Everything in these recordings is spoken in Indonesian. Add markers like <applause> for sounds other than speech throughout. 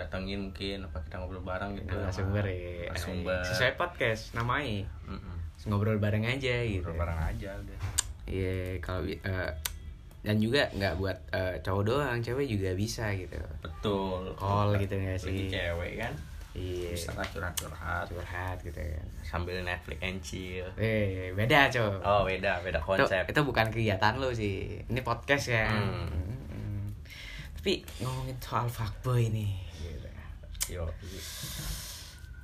datengin mungkin apa kita ngobrol bareng gitu Nah, narasumber ya. Narasumber. Sesuai Iya. podcast namanya. Mm-mm. Ngobrol bareng aja gitu. ngobrol bareng aja udah Iya, kalau bi- eh, dan juga nggak buat eh, cowok doang, cewek juga bisa gitu. betul Call gitu nggak Lagi sih? cewek kan Iya. bisa lah curhat-curhat Curhat gitu kan. sambil Netflix and chill Eh, beda cow. oh beda beda itu, konsep itu bukan kegiatan lo sih. Ini podcast ya. Hmm. Mm-mm. Tapi ngomongin soal fuckboy nih. Gitu. yo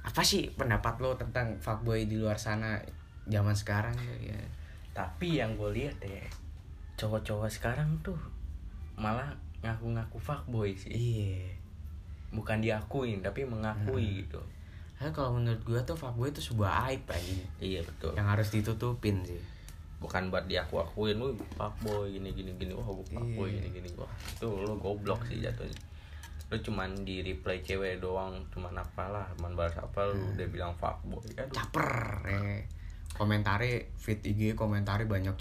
Apa sih pendapat lo tentang fuckboy di luar sana zaman sekarang tuh ya? tapi yang gue lihat ya cowok-cowok sekarang tuh malah ngaku-ngaku fuckboy sih Iya. bukan diakuin tapi mengakui gitu Nah, kalau menurut gua tuh fuckboy itu sebuah aib aja iya betul yang harus ditutupin sih. bukan buat diaku-akuin lu fuckboy gini gini gini wah gue fuckboy gini Iya. gini wah itu lu goblok sih jatuhnya lu cuman di reply cewek doang cuman apalah cuman bahas apa Hmm. lu udah bilang fuckboy aduh Caper. Eh. Komentari feed IG komentari banyak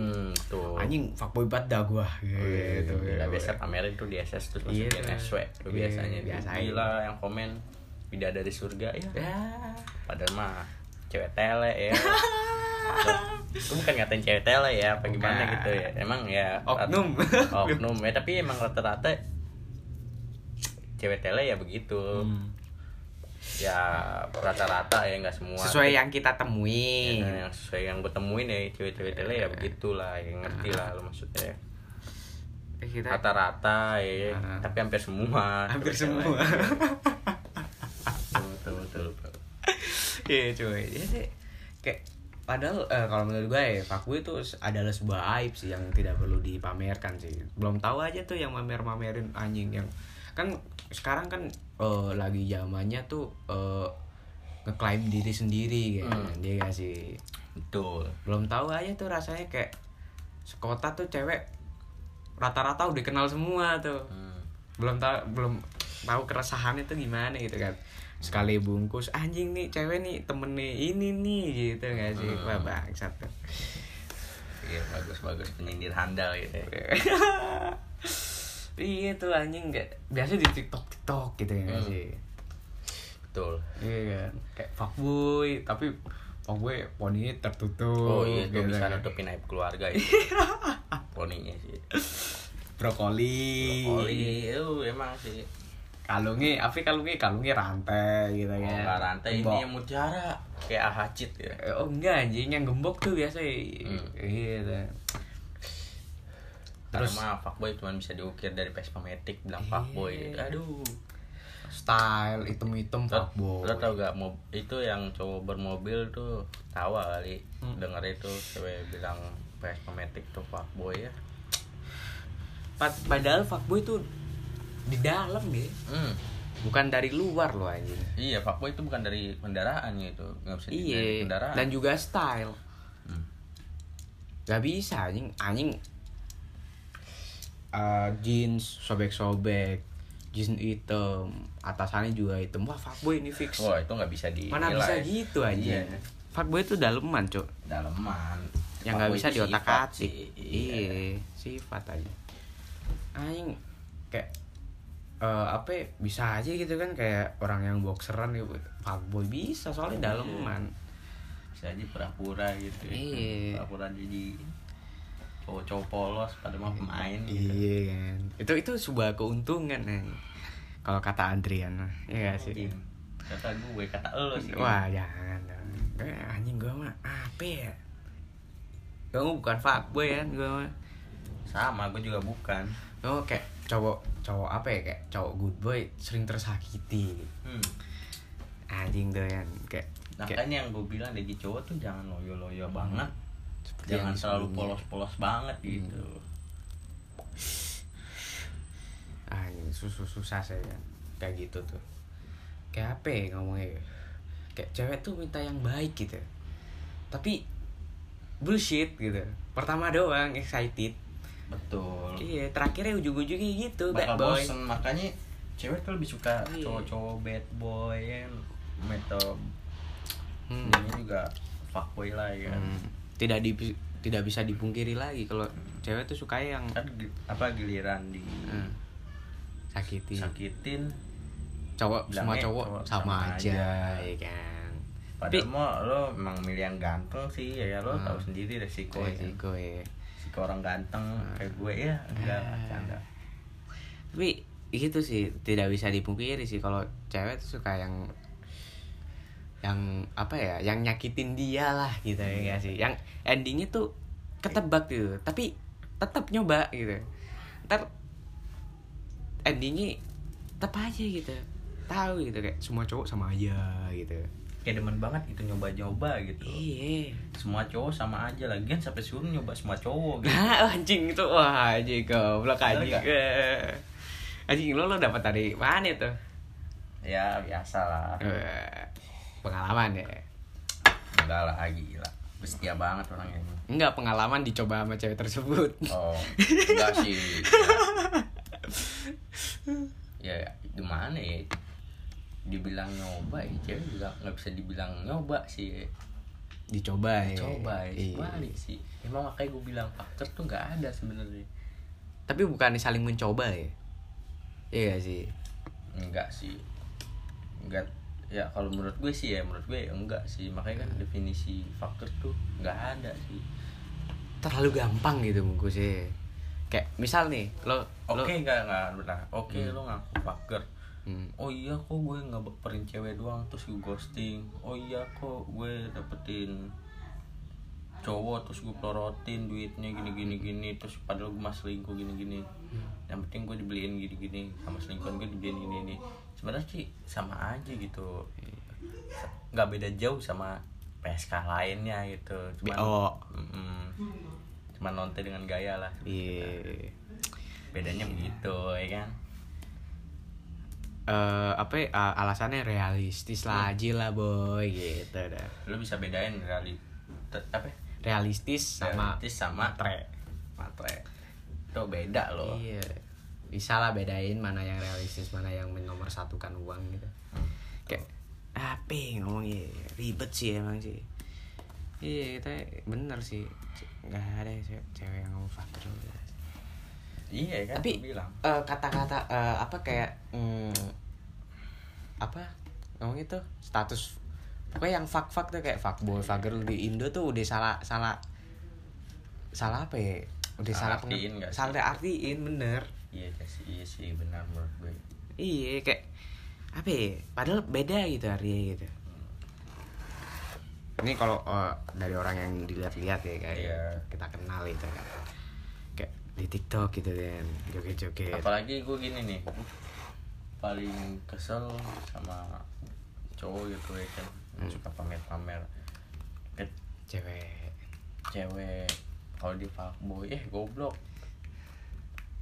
hmm, Oh, iya, tuh Iya. Anjing fuckboy banget dah gua gitu. Gila, biasa pamerin tuh di SS terus Iya. masukin SW tuh Iya, biasanya biasain. gila yang komen bida dari surga ya <laughs> Ya. padahal mah cewek tele <laughs> ya Gue bukan ngatain cewek tele ya apa gimana Bukan. gitu ya emang ya Oknum. oknum ya tapi emang rata-rata cewek tele ya begitu ya rata-rata ya nggak semua Sesuai yang kita temui. Ya, yang sesuai yang gue temuin ya cewek-cewek tele ya begitulah yang ngerti lah lo maksudnya Eh, Kita rata-rata ya Ah. tapi Nah. hampir semua hampir Cewek-cewek. semua. Iya. Betul, betul betul betul. Iya cuy. Iya sih. Kayak padahal eh, kalau menurut gue ya fuckboy itu se- adalah sebuah aib sih yang tidak perlu dipamerkan sih. Belum tahu aja tuh yang mamer-mamerin anjing yang kan sekarang kan eh, lagi zamannya tuh eh, ngeklaim diri sendiri kan. Hmm. Dia gak sih. betul Belum tahu aja tuh rasanya kayak sekota tuh cewek rata-rata udah kenal semua tuh Hmm. belum tahu belum tahu keresahannya tuh gimana gitu kan sekali bungkus anjing nih cewek nih temen nih ini nih gitu nggak sih Hmm. wah bangsat tuh. Iya bagus bagus penyindir handal gitu. ya. iya tuh anjing nggak biasa di tiktok tiktok gitu ya nggak Hmm. sih Betul. iya kan kayak fuckboy tapi fuckboy poninya Oh, tertutup iya itu gitu bisa kan. nutupin aib keluarga <laughs> itu. Poninya sih. Iya. brokoli, Brokoli, itu emang sih. kalungnya apa kalungnya kalungnya rantai gitu Kalau kan Oh, nggak rantai Gembok. ini yang mutiara kayak ahacit ya. Eh, Oh enggak anjing yang gembok tuh biasa Hmm. iya tuh. Terus Terus- mah fuckboy cuma bisa diukir dari Vespa Matic bilang Iya. fuckboy. Aduh. style hitam-hitam Lo, fuckboy lo tau gak mob, itu yang cowok bermobil tuh tawa kali Hmm. denger itu cewek bilang Vespa Matic tuh fuckboy ya. Pad- padahal fuckboy tuh di dalam gitu Hmm. bukan dari luar loh anjing Iya, fuckboy itu bukan dari kendaraan gitu. Nggak bisa dari iya kendaraan. dan juga style Hmm. gak bisa anjing anjing Eh, jeans sobek-sobek jeans hitam atasannya juga hitam wah fuckboy ini fix Wah itu nggak bisa di mana bisa gitu Iya. anjing fuckboy tuh daleman cok daleman yang Ya nggak bisa Sifat diotak atik sih, iya iya sifat aja anjing kayak eh, apa ya, bisa aja gitu kan kayak orang yang boxeran gitu fuckboy bisa soalnya daleman bisa aja pura-pura gitu ya. Iya. pura-pura jadi cowok-cowok polos pada mau pemain gitu iya kan itu itu sebuah keuntungan anjing. kalau kata Adrian ya gak sih Anjing. kata gue kata lo sih wah jangan dong. Eh, anjing gua mah apa ya gua bukan fuckboy kan gua mah sama gue juga bukan Oh kayak cowok cowok apa ya kayak cowok good boy sering tersakiti hmm. anjing doyan kayak nah kayak kan yang gue bilang dari cowok tuh jangan loyo-loyo banget Hmm. seperti jangan yang selalu sebelumnya. Hmm. polos-polos banget gitu anjing susu susah saya kan kayak gitu tuh kayak apa ya ngomongnya ya? kayak cewek tuh minta yang baik gitu tapi bullshit gitu pertama doang excited betul iya terakhirnya ujung-ujungnya gitu Hmm. bakal bad boy bosen makanya cewek tuh lebih suka Iya. cowok-cowok bad boy kan metal Hmm. ini juga fuckboy lah ya kan Hmm. tidak di tidak bisa dipungkiri lagi kalau cewek tuh suka yang hmm, kan gi- apa giliran di sakiti sakitin cowok semua Bilangnya cowok cowok sama, sama aja, aja. ya kan Padahal mah lo emang milih yang ganteng sih ya, ya lo Hmm. tahu sendiri resiko Tapi, sih. resiko ya. Resiko orang ganteng kayak gue ya enggak Ah. bercanda. tapi gitu sih tidak bisa dipungkiri sih kalau cewek tuh suka yang yang apa ya yang nyakitin dia lah gitu ya nggak sih yang endingnya tuh ketebak gitu tapi tetap nyoba gitu ntar endingnya tetap aja gitu tahu gitu kayak semua cowok sama aja gitu Kayak demen banget itu nyoba-nyoba gitu. iya Semua cowok sama aja lagian sampai suruh nyoba semua cowok gitu. Nah, <laughs> anjing itu wah anjing goblok anjing. Bener Eh. Anjing lo lo dapat dari mana tuh? ya biasa lah. Eh, Pengalaman ya. Enggak lah ah, gila. Bestia banget orangnya. ini. Enggak pengalaman dicoba sama cewek tersebut. Oh, enggak sih. Ya, ya, gimana ya? Dibilang nyoba ya, cewek juga nggak bisa dibilang nyoba sih. Dicoba ya. Coba ya, Iya. balik sih. Emang makanya gue bilang faktor tuh nggak ada sebenarnya. Tapi bukan saling mencoba ya. Iya nggak sih. Enggak sih. Enggak ya kalau menurut gue sih ya menurut gue ya enggak sih makanya kan definisi faktor tuh nggak ada sih Terlalu gampang gitu bungkusnya. Kayak misal nih lo oke lo enggak enggak benar oke lo ngaku faktor Hmm. oh iya kok gue nggak baperin cewek doang terus gue ghosting oh iya kok gue dapetin cowok terus gue pelorotin duitnya gini gini gini terus padahal gue masih selingkuh gini gini yang penting gue dibeliin gini gini sama selingkuhan gue dibeliin gini gini sebenarnya sih sama aja gitu Sa- nggak beda jauh sama PSK lainnya gitu cuman BO. Mm-mm. cuman nonton dengan gaya lah Iya. bedanya begitu ya kan Eh, apa ya, eh, alasannya realistis lah aja lah boy gitu dah. lu bisa bedain reali te- apa ya? realistis sama realitis sama matre. matre itu beda loh Iya. Bisa lah bedain mana yang realistis, mana yang menomorsatukan uang gitu. Kayak apa yang ngomongnya ya? ribet sih emang sih. Iya, kita bener sih. C- nggak ada cewek, cewek yang ngomong faktor. iya kan Tapi gua bilang eh, kata-kata eh, apa kayak mm, apa ngomong itu status pokoknya yang fuck fuck tuh kayak fuckboy fuckgirl di Indo tuh udah salah salah salah apa ya udah Salah salah, penge- artiin nggak sih? salah artiin bener iya iya sih iya sih benar menurut gue Iya kayak apa ya? Padahal beda gitu hari gitu. Ini kalau eh, dari orang yang dilihat-lihat ya kayak Iya. kita kenal itu kan. Kayak di TikTok gitu kan, joget-joget. apalagi gue gini nih paling kesel sama cowok gitu ya kan Hmm. suka pamer-pamer ke Cewek. cewek kalau di fuckboy eh goblok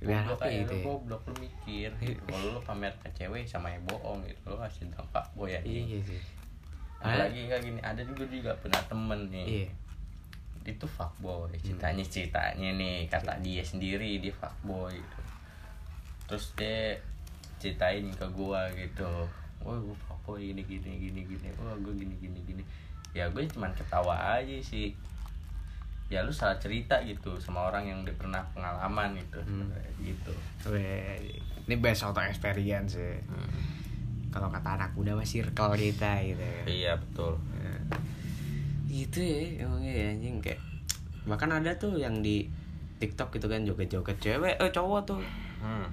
Biar goblok apa aja gitu lu ya? goblok lu mikir <laughs> gitu. kalau lu pamer ke cewek sama ya bohong gitu lu kasih dampak boy ya Iya sih. Padahal- apalagi nggak gini ada juga juga pernah temen nih Iya. itu fuckboy ceritanya ceritanya nih kata dia sendiri dia fuckboy gitu. terus dia ceritain ke gua gitu wah gua fuckboy gini gini gini gini wah gua gini gini gini ya gue cuman ketawa aja sih ya lu salah cerita gitu sama orang yang udah pernah pengalaman gitu sebenarnya gitu Weh, Ini best auto experience ya. Hmm. Kalau kata anak muda masih circle kita gitu. ya. iya betul gitu ya emangnya ya, anjing kayak bahkan ada tuh yang di TikTok gitu kan joget-joget cewek eh cowok tuh hmm.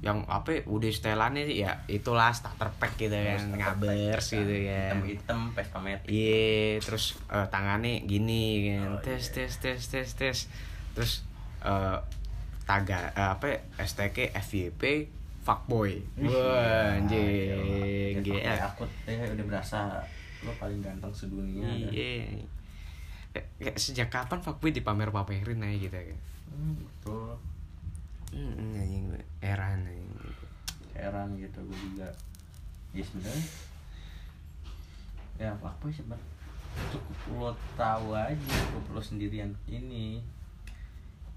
yang apa ya, udah setelannya sih ya itulah starter pack gitu kan ngabers gitu kan hitam hitam pesta metik iya terus eh, tangannya gini kan Oh, tes iya. tes tes tes tes terus eh tagar eh, apa ya, STK FYP fuckboy wah ya, anjing GR. aku teh udah berasa lo paling ganteng kan? sedunia dan- Iya. Kayak, kayak sejak kapan fuckboy dipamer-pamerin aja gitu kan. Hmm, betul Hmm, anjing era anjing. heran gitu gue juga ya sebenarnya ya fuckboy sebenarnya cukup lo tahu aja cukup lo sendirian ini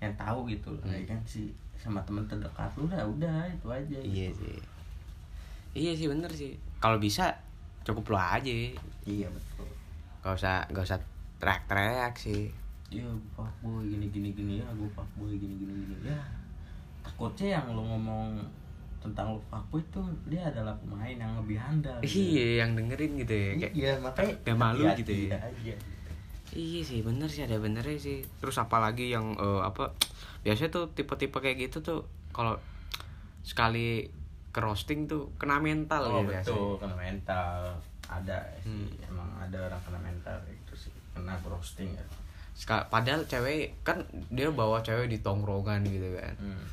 yang tahu gitu lah ya kan sih sama teman terdekat lu lah udah itu aja Iya gitu. sih. Iya sih bener sih. Kalau bisa cukup lo aja. iya betul Gak usah gak usah teriak-teriak sih. iya gue fuckboy Ya, gini gini gini ya gue fuckboy gini gini gini ya takutnya yang lo ngomong tentang lu fuckboy tuh dia adalah pemain yang lebih handal gitu. iya yang dengerin gitu ya kayak iya makanya kayak malu hati-hati gitu ya. aja. Iya sih bener sih ada benernya sih Terus apalagi yang eh, apa Biasanya tuh tipe-tipe kayak gitu tuh kalau sekali ke roasting tuh kena mental oh betul ya biasanya. Hmm. kena mental ada sih emang ada orang kena mental itu sih kena roasting ya Seka- padahal cewek kan dia bawa cewek di tongkrongan gitu kan hmm.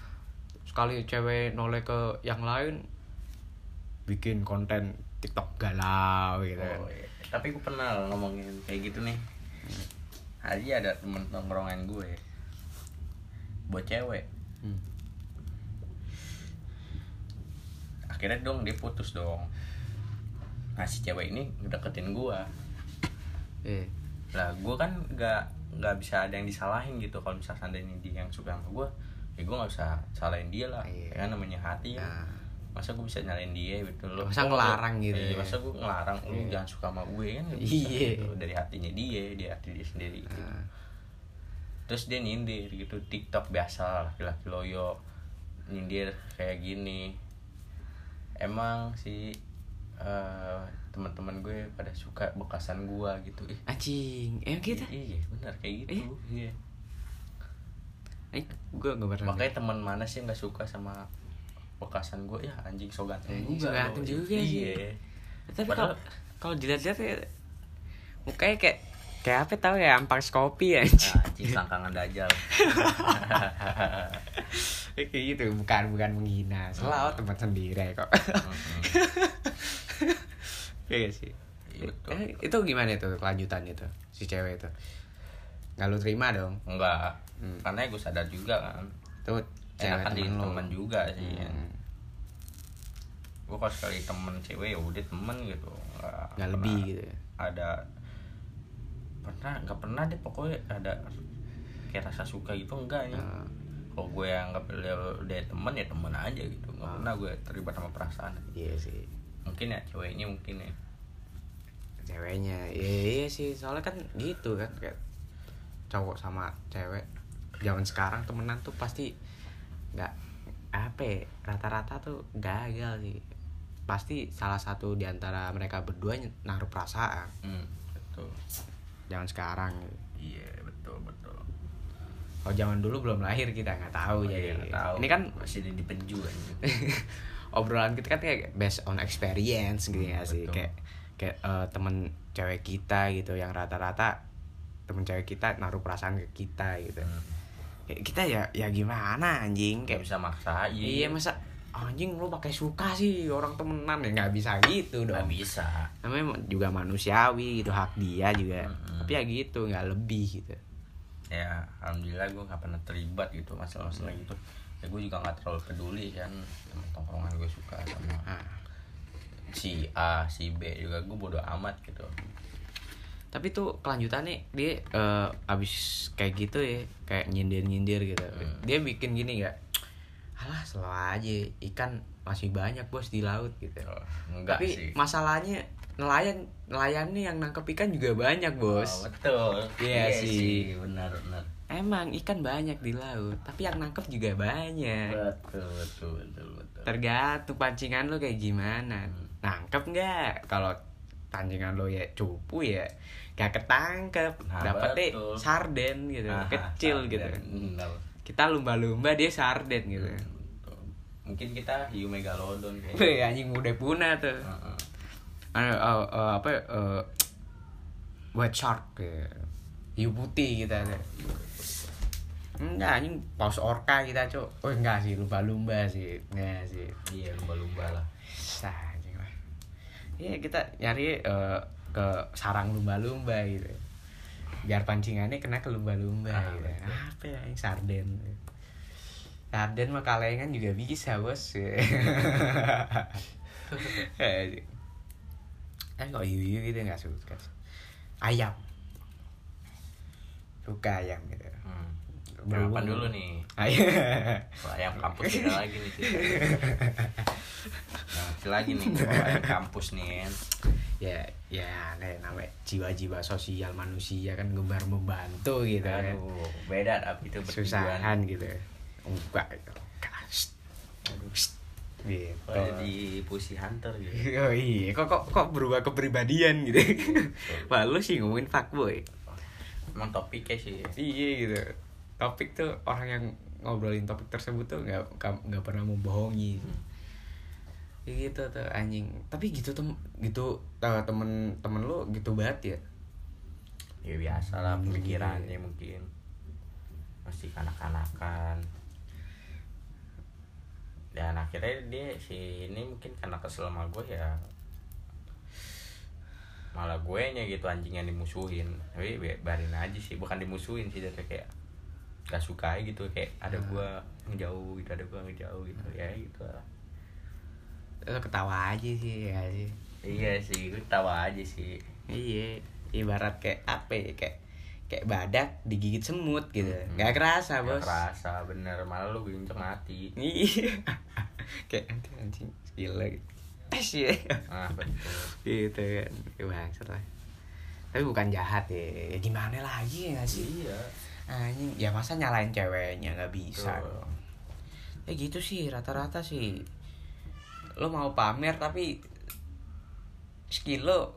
sekali cewek noleh ke yang lain bikin konten TikTok galau gitu kan Oh, Hmm. iya. tapi gue pernah ngomongin kayak gitu nih Haji ada temen tongkrongan gue buat cewek Hmm. akhirnya dong dia putus dong nah si cewek ini ngedeketin gue Eh, lah gue kan nggak nggak bisa ada yang disalahin gitu kalau misalnya seandainya dia yang suka sama gue ya gue nggak bisa salahin dia lah Iya. ya kan namanya hati ya Nah. masa gue bisa nyalain dia gitu loh Masa Oh, ngelarang gitu iya, ya. masa gue ngelarang lu Iya. jangan suka sama gue kan nggak bisa Iya. gitu. dari hatinya dia dari hati dia sendiri gitu. nah, terus dia nyindir gitu tiktok biasa lah, laki-laki loyo nyindir kayak gini emang si eh, teman-teman gue pada suka bekasan gue gitu ih anjing, eh kita, Iya, benar kayak gitu. Iya. eh gue nggak pernah. Makanya teman mana sih yang nggak suka sama bekasan gue ya anjing so ganteng juga. Anjing, so ganteng loh. juga sih. Iya. tapi kalau Padahal- kalau dilihat-lihat ya mukanya kayak kayak apa tau ya ampang skopi ya anjing. Nah, anjing selangkangan <laughs> dajal. Iya. kayak gitu bukan bukan menghina selalu Hmm. teman sendiri kok <laughs> iya sih Iya, betul. Eh, itu gimana tuh kelanjutannya tuh si cewek itu nggak lu terima dong Enggak. Hmm. Karena gue sadar juga kan. tuh cewek Enak kan di temen lu temen juga sih. ya. Hmm. Gue kalau sekali temen cewek ya udah temen gitu. Enggak nggak lebih gitu ya ada pernah nggak pernah deh pokoknya ada kayak rasa suka gitu enggak ya Ah. kalau gue yang nggak dia teman ya teman aja gitu Ah. nggak pernah gue terlibat sama perasaan iya sih mungkin ya ceweknya mungkin ya ceweknya iya, iya sih soalnya kan gitu kan kayak cowok sama cewek zaman sekarang temenan tuh pasti nggak apa ya, rata-rata tuh gagal sih pasti salah satu di antara mereka berdua ny- naruh perasaan hmm, betul zaman sekarang iya betul betul kalau zaman dulu belum lahir kita nggak tahu jadi Iya, nggak tahu. ini kan <laughs> masih di, di penju aja obrolan kita kan kayak based on experience gitu ya sih Betul. kayak kayak eh, temen cewek kita gitu yang rata-rata temen cewek kita naruh perasaan ke kita gitu Hmm. kayak kita ya ya gimana anjing nggak kayak bisa maksain iya masa anjing lu pakai suka sih orang temenan ya nggak bisa gitu nggak dong bisa namanya juga manusiawi gitu hak dia juga Mm-mm. tapi ya gitu nggak lebih gitu ya alhamdulillah gue nggak pernah terlibat gitu masalah-masalah Hmm. gitu ya gue juga nggak terlalu peduli kan sama tongkrongan gue suka sama Nah, si A si B juga gue bodo amat gitu tapi tuh kelanjutannya dia eh, abis kayak gitu ya kayak nyindir nyindir gitu Hmm. dia bikin gini nggak alah selalu aja ikan masih banyak bos di laut gitu Oh, enggak tapi sih masalahnya nelayan nelayannya yang nangkep ikan juga banyak Oh, bos betul Iya sih. benar benar emang ikan banyak di laut tapi yang nangkep juga banyak betul betul betul betul tergantung pancingan lo kayak gimana Hmm. nangkep nggak kalau pancingan lo ya cupu ya gak ketangkep Nah, dapetnya betul. sarden gitu Aha, kecil sarden. gitu Benar. kita lumba-lumba dia sarden gitu Hmm. Betul. mungkin kita hiu megalodon Weh, <laughs> kayaknya anjing udah punah tuh Heeh. Anu, eh, eh, apa eh, white shark gitu. hiu putih kita gitu. enggak anjing paus orca kita cok oh enggak sih lumba-lumba sih enggak sih iya lumba-lumba lah Sah, anjing lah. Iya kita nyari eh, ke sarang lumba-lumba gitu. Biar pancingannya kena ke lumba-lumba Ah, gitu. betul. Apa ya anjing? sarden. Sarden mah kalengan juga bisa, Bos. <laughs> Eh, kan kalau hiu-hiu gitu nggak suka. Ayam. Suka ayam gitu. hmm. Berhubung- Berapa dulu nih? Ayam. Kalau ayam kampus beda lagi nih kita. Nah, masih lagi nih kalau ayam kampus nih. kan. ya ya nih, namanya jiwa-jiwa sosial manusia kan gemar membantu gitu kan Aduh, beda tapi itu bertujuan. susahan gitu enggak gitu. Kena, shh. Aduh, shh. gitu jadi pussy hunter gitu <laughs> oh iya kok kok kok berubah kepribadian <laughs> gitu Wah lu sih ngomongin fuckboy emang topiknya sih ya. iya gitu topik tuh orang yang ngobrolin topik tersebut tuh nggak nggak- nggak pernah membohongi Ya gitu tuh anjing tapi gitu tem gitu eh, temen temen lu gitu banget ya ya biasa lah pikirannya mungkin masih kanak-kanakan dan akhirnya dia si ini mungkin karena kesel sama gue ya malah gue nya gitu anjing yang dimusuhin tapi bi- biarin aja sih bukan dimusuhin sih tapi kayak gak suka aja gitu kayak ada gue ngejauh gitu ada gue ngejauh gitu ya gitu lah lu Eh, ketawa aja sih ya sih iya sih gue tawa aja sih iya ibarat kayak apa ya kayak kayak badak digigit semut gitu nggak kerasa Gak bos Hmm, kerasa bener malah lu bincang hati iya <laughs> kayak anjing anjing gila gitu tes ya ah betul gitu kan Ya, bangsat lah tapi bukan jahat ya Ya, gimana lagi ya nggak sih iya anjing ya masa nyalain ceweknya nggak bisa Betul. ya gitu sih rata-rata sih lo mau pamer tapi skill lo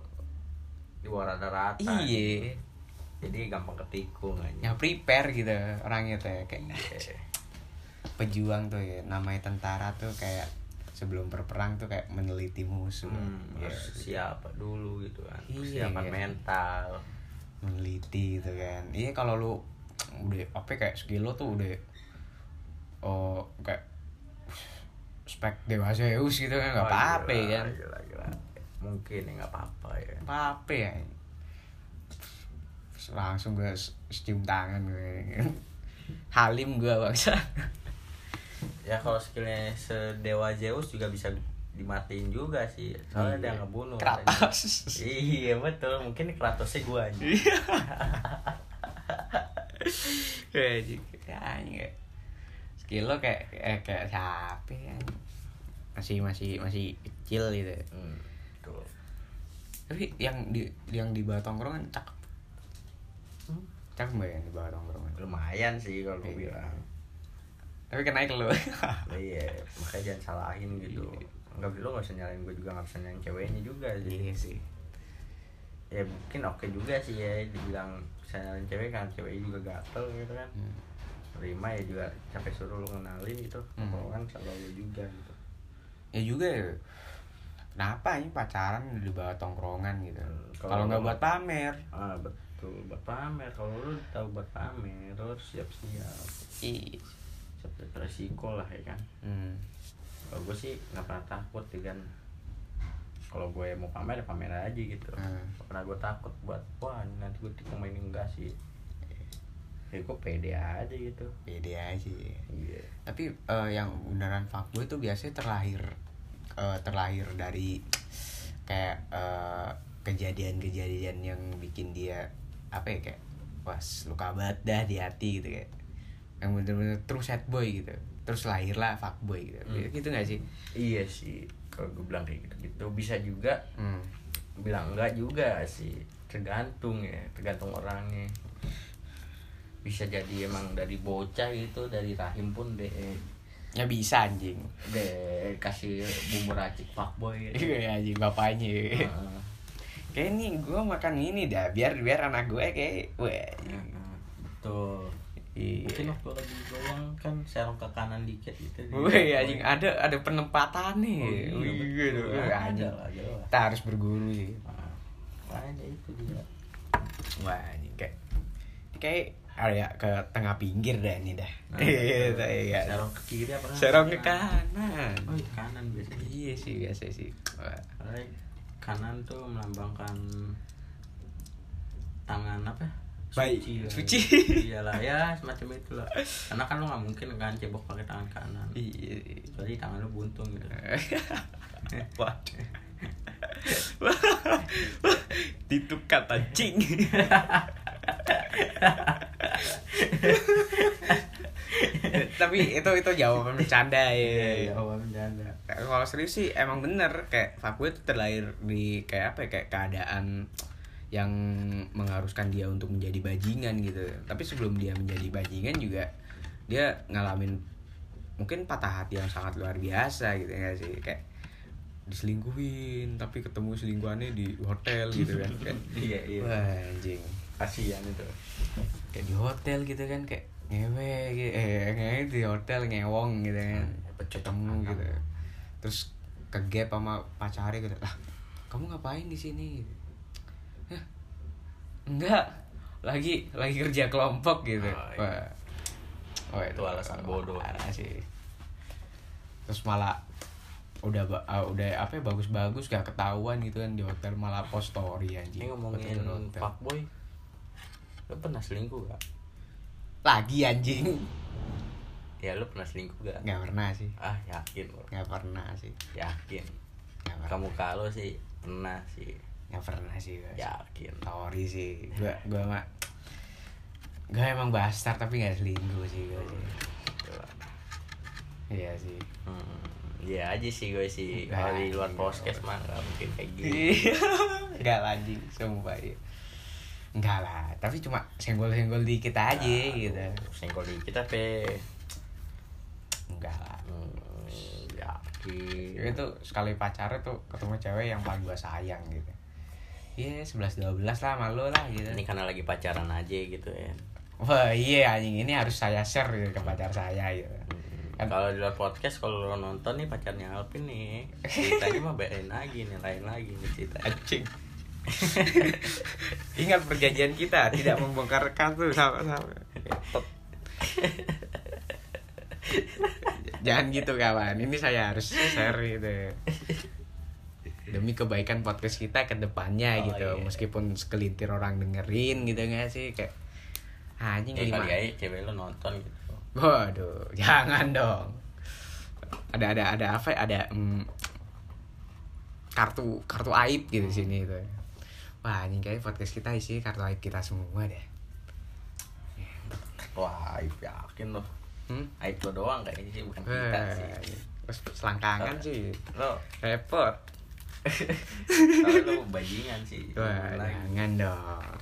di bawah rata-rata iya jadi gampang ketikung aja nggak prepare gitu orangnya tuh ya. kayak Iya. pejuang tuh ya namanya tentara tuh kayak sebelum berperang tuh kayak meneliti musuh hmm, Ya, harus siapa dulu gitu kan Iya, persiapan iya. mental meneliti gitu kan iya kalau lu udah apa ya, kayak sekilo tuh udah oh kayak spek dewa Zeus gitu kan nggak Oh, apa-apa gila, kan gila, gila. mungkin ya nggak apa-apa ya apa apa ya Terus langsung gue s- cium tangan gue <laughs> Halim gue bangsa ya kalau skillnya sedewa Zeus juga bisa dimatiin juga sih soalnya Iya. dia ngebunuh katanya. Kratos Iya. iya betul mungkin Kratosnya gua aja Ya, anjing. Ya, anjing, kayak skill lo kayak eh, kayak siapa ya masih masih masih kecil gitu hmm, betul tapi yang di yang di bawah tongkrongan cakep cakep mbak yang di bawah tongkrongan lumayan sih kalau gua Iya. bilang tapi kena ke lo iya makanya jangan salahin gitu nggak lo nggak usah nyalain gua juga nggak usah nyalain ceweknya juga sih <laughs> iya sih ya mungkin oke juga sih ya dibilang kenalin cewek kan cewek juga gatel gitu kan Hmm. terima ya juga capek suruh lu kenalin gitu Hmm. omongan kalau lu juga gitu ya juga ya kenapa ini pacaran di bawah tongkrongan gitu Hmm, kalau kalau nggak lo- buat pamer ah betul buat pamer kalau lu tahu buat pamer lu harus siap siap iya siap siap resiko lah ya kan hmm. kalau gue sih nggak pernah takut ya kan kalau gue mau pamer ya pamer aja gitu Hmm. nggak pernah gue takut buat wah ini nanti gue tikung main enggak sih ya gue pede aja gitu beda aja ya. iya tapi eh, yang beneran fuckboy itu biasanya terlahir eh, terlahir dari kayak eh, kejadian-kejadian yang bikin dia apa ya kayak was luka banget dah di hati gitu kayak yang bener-bener terus sad boy gitu terus lahirlah fuckboy gitu Hmm. gitu nggak sih Iya sih, kalau gue bilang kayak gitu, gitu bisa juga hmm. bilang enggak juga sih, tergantung ya, tergantung orangnya. Bisa jadi emang dari bocah gitu, dari rahim pun deh ya bisa anjing <laughs> deh kasih bumbu racik fuckboy gitu. iya anjing bapaknya Heeh. kayak nih gue makan ini dah biar biar anak gue kayak weh Iya. Heeh. Betul. Iya. Mungkin waktu lagi doang kan serong ke kanan dikit gitu. Wih anjing ada ada Oh, penempatan nih. iya, Wih, betul. aduh, Ada anjing. lah, jelas. Kita harus berguru iya. sih. Heeh. Ada itu dia. Wah anjing kayak kayak area ke tengah pinggir dah ini dah. Nah, Iya betul. iya. Serong ke kiri apa? Serong ke kanan. Oh, iya, kanan biasanya. Iya sih biasa sih. Wah. Karena kanan tuh melambangkan tangan apa? ya? Baik, lah. suci. Iyalah ya semacam itulah. Karena kan lu nggak mungkin kan cebok pakai tangan kanan. Iya. Kecuali tangan lu buntung gitu. Waduh. <laughs> Ditukat anjing. Tapi itu itu jawaban bercanda ya. Iya, awal bercanda. kalau serius sih emang bener kayak fuckboy itu terlahir di kayak apa ya kayak keadaan yang mengharuskan dia untuk menjadi bajingan gitu tapi sebelum dia menjadi bajingan juga dia ngalamin mungkin patah hati yang sangat luar biasa gitu ya nggak sih kayak diselingkuhin tapi ketemu selingkuhannya di hotel gitu kan kayak iya wah anjing kasihan itu kayak di hotel gitu kan kayak ngewe gitu eh ngewe di hotel ngewong gitu kan Hmm, ketemu gitu terus kegep sama pacarnya gitu lah kamu ngapain di sini Hah, enggak lagi lagi kerja kelompok gitu Oh, iya. Wah. Wah, Itu alasan bodoh. parah sih terus malah udah ba- ah, udah apa ya bagus-bagus gak ketahuan gitu kan di hotel malah post story anjing ini ngomongin Hotel- hotel. fuckboy lo pernah selingkuh gak lagi anjing ya lo pernah selingkuh gak nggak pernah sih ah yakin bro. nggak pernah sih yakin nggak pernah kamu kalau sih pernah sih nggak pernah sih gua. yakin sorry sih gua gua mah gua emang bastard tapi nggak selingkuh sih gua sih Coba. iya sih Hmm, ya aja sih gue sih Nah, kalau di luar iya. podcast mah nggak mungkin kayak gitu. gini nggak lah anjing sumpah iya. nggak lah tapi cuma senggol-senggol dikit aja Nah, gitu senggol di kita pe enggak lah Hmm, yakin itu sekali pacarnya tuh ketemu cewek yang paling gua sayang gitu Iya, 11-12 lah malu lah gitu ini kan- karena lagi pacaran aja gitu ya Wah iya anjing ini harus saya share gitu, ke pacar saya gitu Hmm. Kalau di luar podcast kalau lo nonton nih pacarnya Alvin nih ceritanya mah bedain lagi nih lain lagi nih cerita. Anjing. <laughs> Ingat perjanjian kita tidak membongkar kartu sama-sama. Tot. Jangan gitu kawan. Ini saya harus share gitu. Demi kebaikan podcast kita ke depannya Oh, gitu. iya. Meskipun sekelintir orang dengerin gitu nggak sih kayak "Ah, anjing Ya lima. kali aja cewek lo nonton gitu. Waduh, <laughs> jangan dong. Ada ada ada apa? ya? Ada mm, kartu kartu aib gitu di sini itu. Wah, anjing kayaknya podcast kita isi kartu aib kita semua deh. Wah, aib yakin lo. Hmm? Aib lo doang kayaknya sih bukan kita Wah, sih. Terus selangkangan sih. Lo Repot. kalau lo bajingan sih. Wah, iya. Lagi. jangan dong.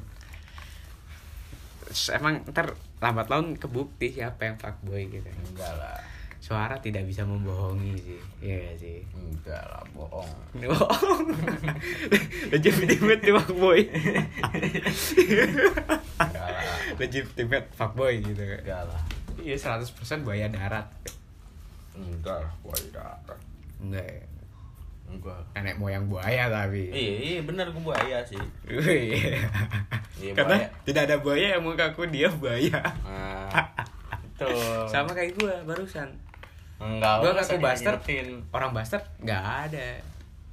Terus emang ntar lambat laun kebukti siapa yang fuckboy gitu. Enggak lah. Suara tidak bisa membohongi sih. Iya nggak sih. Enggak lah bohong. bohong <laughs> Najib Timet di fuckboy Enggak lah. Najib Timet fuckboy gitu Enggak lah. Iya 100% buaya darat Enggak lah, gua tidak. Enggak ya Enggak. Nenek moyang buaya tapi Iya, iya benar gua buaya sih. Wih. Iya, <laughs> Karena buaya. tidak ada buaya yang mengaku dia buaya Nah, itu. Sama kayak gua barusan Enggak. Gua lo ngaku masa bastard. nyetir? Orang bastard nggak ada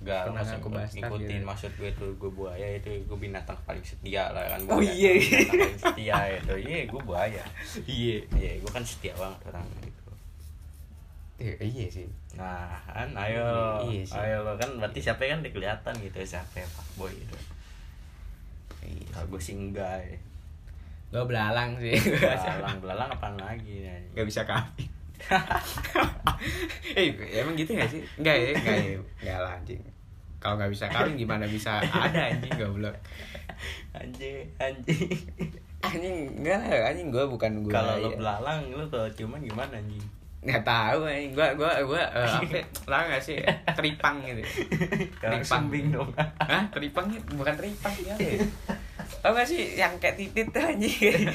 Enggak, Pernah maksud ngaku gue bastard ngikutin gitu. maksud gue tuh gue buaya ya itu gue binatang paling setia lah kan Oh, buaya iya. kan binatang paling setia itu iya gue buaya Iya iya gue kan setia banget orang gitu Eh, Iya sih nah kan ayo Iya sih. ayo lo kan berarti siapa yang udah kelihatan gitu siapa yang pak boy gitu Iya. kalau gue sih enggak <laughs> ya. Gua belalang sih <laughs> belalang belalang apaan lagi ya nggak bisa kawin <laughs> eh emang gitu nggak sih nggak ya nggak ya nggak lah anjing kalau nggak bisa kawin gimana bisa ada anjing goblok anjing anjing anjing nggak lah, anjing gue bukan gue kalau lo belalang lo kalau cuman gimana anjing <laughs> nggak tahu anjing gue gue gue eh, apa ya, lah nggak sih teripang gitu kalau sumbing dong Hah? Teripang ya? bukan teripang ya apa ya? tau nggak sih yang kayak titit tuh <laughs> anjing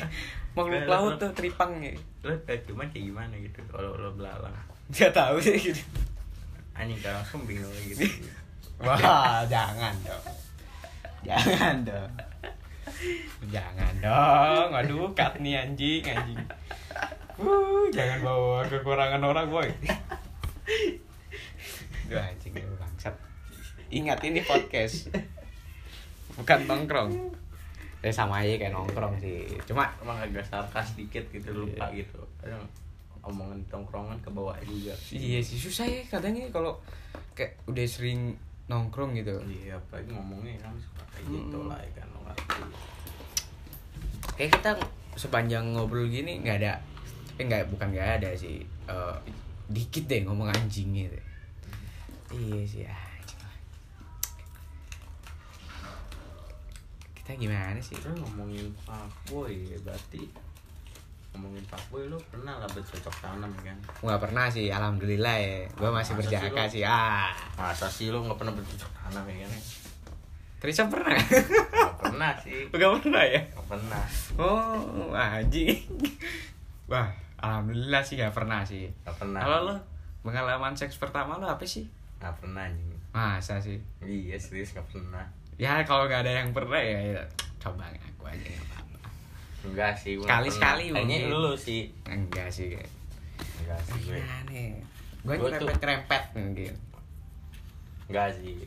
makhluk laut tuh teripang gitu lo kalau cuman kayak gimana gitu kalau lo belalang nggak tahu sih gitu anjing gak langsung bingung gitu Wah, jangan dong. Jangan dong. Jangan dong. Waduh, cut nih anjing, anjing. Uh, jangan bawa kekurangan orang, boy. Duh, anjing lu bangsat. Ingat ini podcast. Bukan nongkrong. Ya sama aja kayak nongkrong sih. Cuma emang agak sarkas dikit Iya. gitu lupa gitu kadang omongan tongkrongan ke bawah juga iya sih susah ya kadang ini kalau kayak udah sering nongkrong gitu. iya apalagi ngomongnya kan suka kayak gitu lah ya kan lo ngerti kayak kita sepanjang ngobrol gini nggak ada eh nggak bukan nggak ada sih Eh, dikit deh ngomong anjingnya deh. iya sih anjing. kita gimana sih terus ngomongin fuckboy berarti ya ngomongin fuckboy lu pernah lah bercocok tanam kan nggak pernah sih alhamdulillah ya gue masih Masa sih berjaga lu? sih ah masa sih lu nggak pernah bercocok tanam ya <laughs> kan Trisha pernah <laughs> nggak pernah sih nggak pernah ya nggak pernah oh anjing wah alhamdulillah sih nggak pernah sih nggak pernah kalau lo pengalaman seks pertama lo apa sih nggak pernah anjing masa sih iya serius nggak pernah ya kalau nggak ada yang pernah ya ya, coba ngaku aja ya, nggak apa-apa enggak sih gua nggak Sekali-sekali pernah. kayaknya mungkin. lu sih enggak sih kayak enggak sih gue aneh gue Iya, Gua tuh- nyerempet nyerempet mungkin enggak sih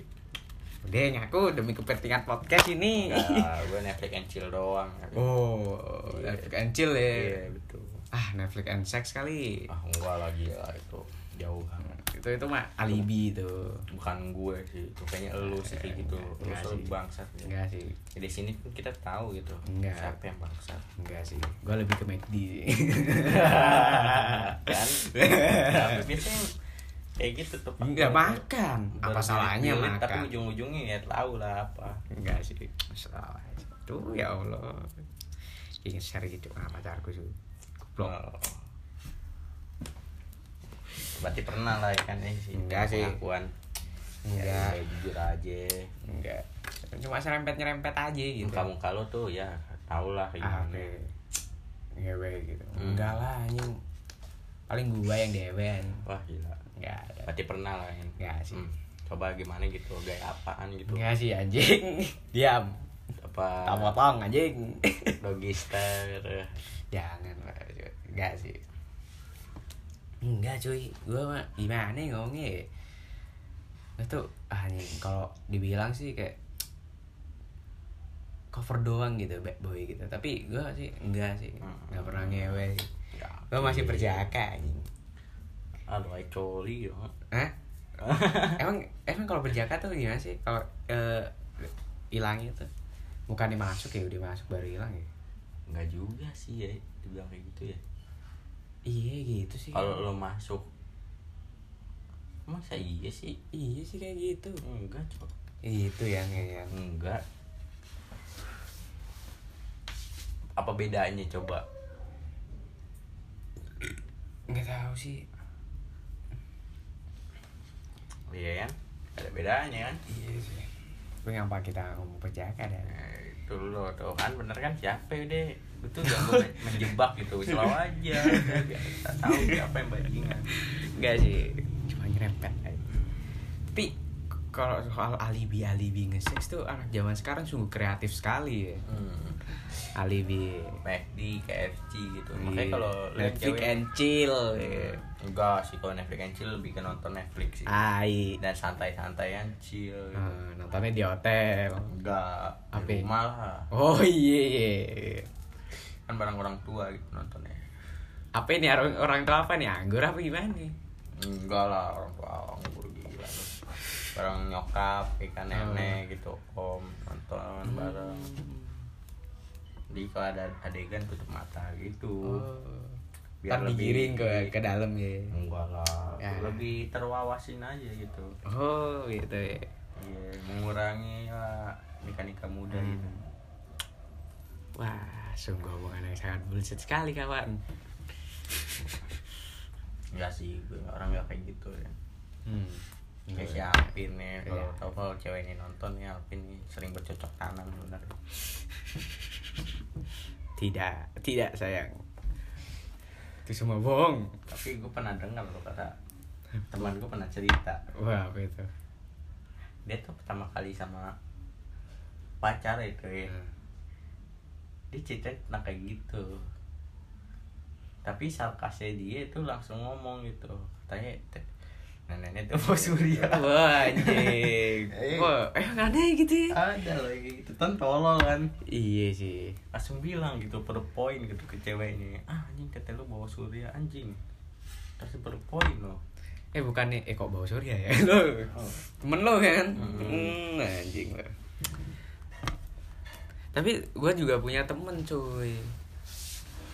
udah ngaku demi kepentingan podcast ini enggak gue Netflix and chill doang <laughs> oh Netflix and chill ya iya betul ah Netflix and sex kali ah enggak lagi lah itu jauh banget itu itu mah alibi itu bukan gue sih itu kayaknya elu sih kayak gitu lu Enggak selalu sih. bangsat ya. enggak sih di sini pun kita tahu gitu Enggak. siapa yang <laughs> bangsat enggak sih gue lebih ke McD <laughs> kan tapi biasanya kayak gitu tuh enggak makan apa Baru salahnya pilih, tapi makan ujung-ujungnya ya tahu lah apa enggak sih salah aja. tuh ya Allah ingin share gitu sama pacarku sih goblok Oh. berarti pernah lah ya kan ya sih Enggak sih. pengakuan Enggak. ya, jujur aja enggak cuma serempet nyerempet aja gitu muka muka lo tuh ya tau lah ah gimana oke ngewe gitu Hmm. enggak lah anjing paling gua yang dewe anjing. wah gila enggak ada berarti pernah lah ya enggak sih Hmm. coba gimana gitu gaya apaan gitu enggak sih anjing <laughs> diam apa tak potong anjing <laughs> logister eh. jangan lah cuy. enggak sih enggak cuy gua mah gimana ya ngomongnya ya? Gua tuh ah nih kalau dibilang sih kayak cover doang gitu bad boy gitu tapi gua sih enggak sih enggak pernah ngewe sih. gua Iya. masih berjaga anjing aduh ay coli ya <laughs> Hah? emang emang kalau berjaga tuh gimana sih kalau eh, hilangnya tuh bukan dimasuk ya udah masuk baru hilang ya nggak juga sih ya dibilang kayak gitu ya iya gitu sih kalau lo masuk masa iya sih iya sih kayak gitu enggak cok itu yang yang enggak apa bedanya coba nggak tahu sih iya kan ada bedanya kan iya sih tapi ngapa kita ngomong berjaga dan Nah, itu lo tuh kan bener kan siapa deh itu jago men- menjebak gitu selalu aja udah biar kita tahu siapa yang bajingan enggak sih cuma nyerempet aja. tapi k- kalau soal alibi alibi nge-sex tuh anak zaman sekarang sungguh kreatif sekali ya hmm. alibi McD, KFC gitu makanya Iya. kalau lo yang Netflix cewek- and chill ya. enggak sih kalau Netflix and chill lebih ke nonton Netflix Ah. sih Ai. dan santai-santai yang chill gitu. Eh, nontonnya di hotel. enggak Apa? di rumah lah Oh iya. iya. kan barang orang tua gitu nontonnya Apa ini orang orang tua apa nih anggur apa gimana nih? enggak lah orang tua nganggur gila lu bareng nyokap ikan Hmm. nenek gitu om nonton bareng di kalau ada adegan tutup mata gitu lebih- Biar Oh. Hmm. digiring ke ke dalam ya. enggak lah Ya. lebih terwawasin aja gitu Oh gitu ya. Iya, mengurangi lah nikah-nikah muda Hmm. gitu Wah, sungguh omongan yang sangat bullshit sekali kawan. enggak sih gue orang enggak kayak gitu ya Hmm. kayak si Iya. Alvin nih kalau Iya. tau kalau cewek ini nonton nih Alvin nih sering bercocok tanam bener Tidak, tidak sayang. Itu semua bohong. tapi gue pernah dengar loh kata teman gue pernah cerita Wah, apa itu? dia tuh pertama kali sama pacar itu ya Hmm. dia cerita tentang kayak gitu tapi sarkasnya dia itu langsung ngomong gitu katanya "Te- neneknya tuh bos surya Wah, anjing. Eh. Wah, emang aneh gitu ya? <laughs> ada loh yang kayak gitu kan tolol kan Iya sih. langsung bilang gitu per poin gitu ke ceweknya ah anjing kata lu bawa surya anjing terus per poin loh Eh bukan nih, eh kok bawa surya ya <laughs> lo? Oh. Temen lo kan? Hmm. Hmm, anjing lo. Tapi gue juga punya temen cuy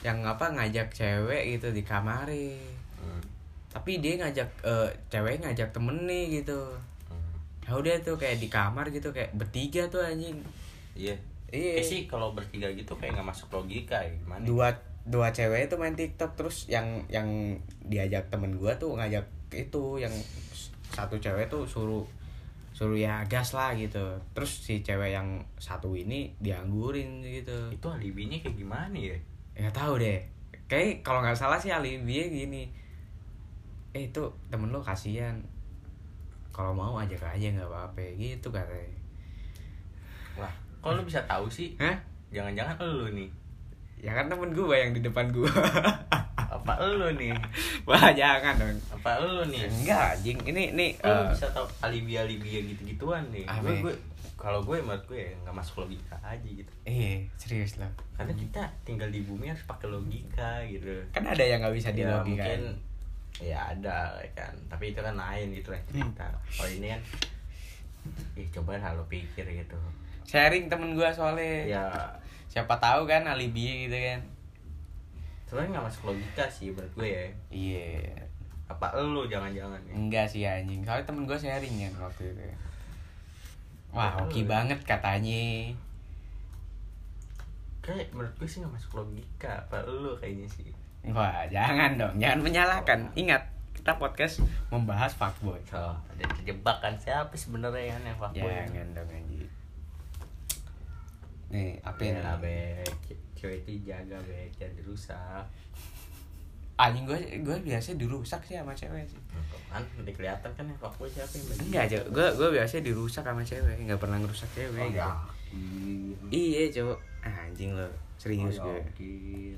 Yang apa ngajak cewek gitu di kamari Hmm. Tapi dia ngajak, eh, cewek ngajak temen nih gitu Ya udah tuh kayak di kamar gitu, kayak bertiga tuh anjing iya Eh Iya. sih kalau bertiga gitu kayak nggak masuk logika ya gimana Dua, dua cewek itu main TikTok terus yang yang diajak temen gua tuh ngajak itu yang s- satu cewek tuh suruh suruh ya gas lah gitu terus si cewek yang satu ini dianggurin gitu itu alibinya kayak gimana ya ya nggak tahu deh kayak kalau nggak salah sih alibi gini eh itu temen lo kasihan kalau mau ajak aja nggak apa-apa gitu katanya lah kok lu bisa tahu sih Hah? jangan-jangan elu nih ya kan temen gue yang di depan gue apa elu nih <laughs> wah jangan dong apa elu nih enggak anjing ini ini Lu eh, Oh, bisa tahu alibi alibi gitu gituan nih Ah, gue Be. gue- kalau gue menurut gue ya, nggak masuk logika aja gitu iya serius lah karena kita tinggal di bumi harus pakai logika gitu kan ada yang nggak bisa ya dilogikain mungkin ya ada kan tapi itu kan lain gitu lah cerita Hmm. kalau ini kan ya coba lah lo pikir gitu sharing temen gue soalnya ya siapa tahu kan alibi gitu kan sebenarnya nggak masuk logika sih menurut gue ya iya apa elu jangan-jangan ya enggak sih anjing soalnya temen gue sharing kan waktu itu wah Betul. oke banget katanya kayak menurut gue sih nggak masuk logika apa elu kayaknya sih wah jangan dong jangan menyalahkan ingat kita podcast membahas fuckboy so ada terjebak kan siapa sebenarnya kan yang fuckboy itu? jangan dong anjing nih apa ini? Ya, Bek. Ce- Cewek itu jaga, Bek. Jangan dirusak. anjing gue gue biasa dirusak sih sama cewek sih Kan udah kelihatan kan yang fuckboy siapa yang bagi. enggak aja gue gue biasa dirusak sama cewek nggak pernah ngerusak cewek Oh, gitu. yakin. iya cowok Ah, anjing lo serius Oh, gue yakin.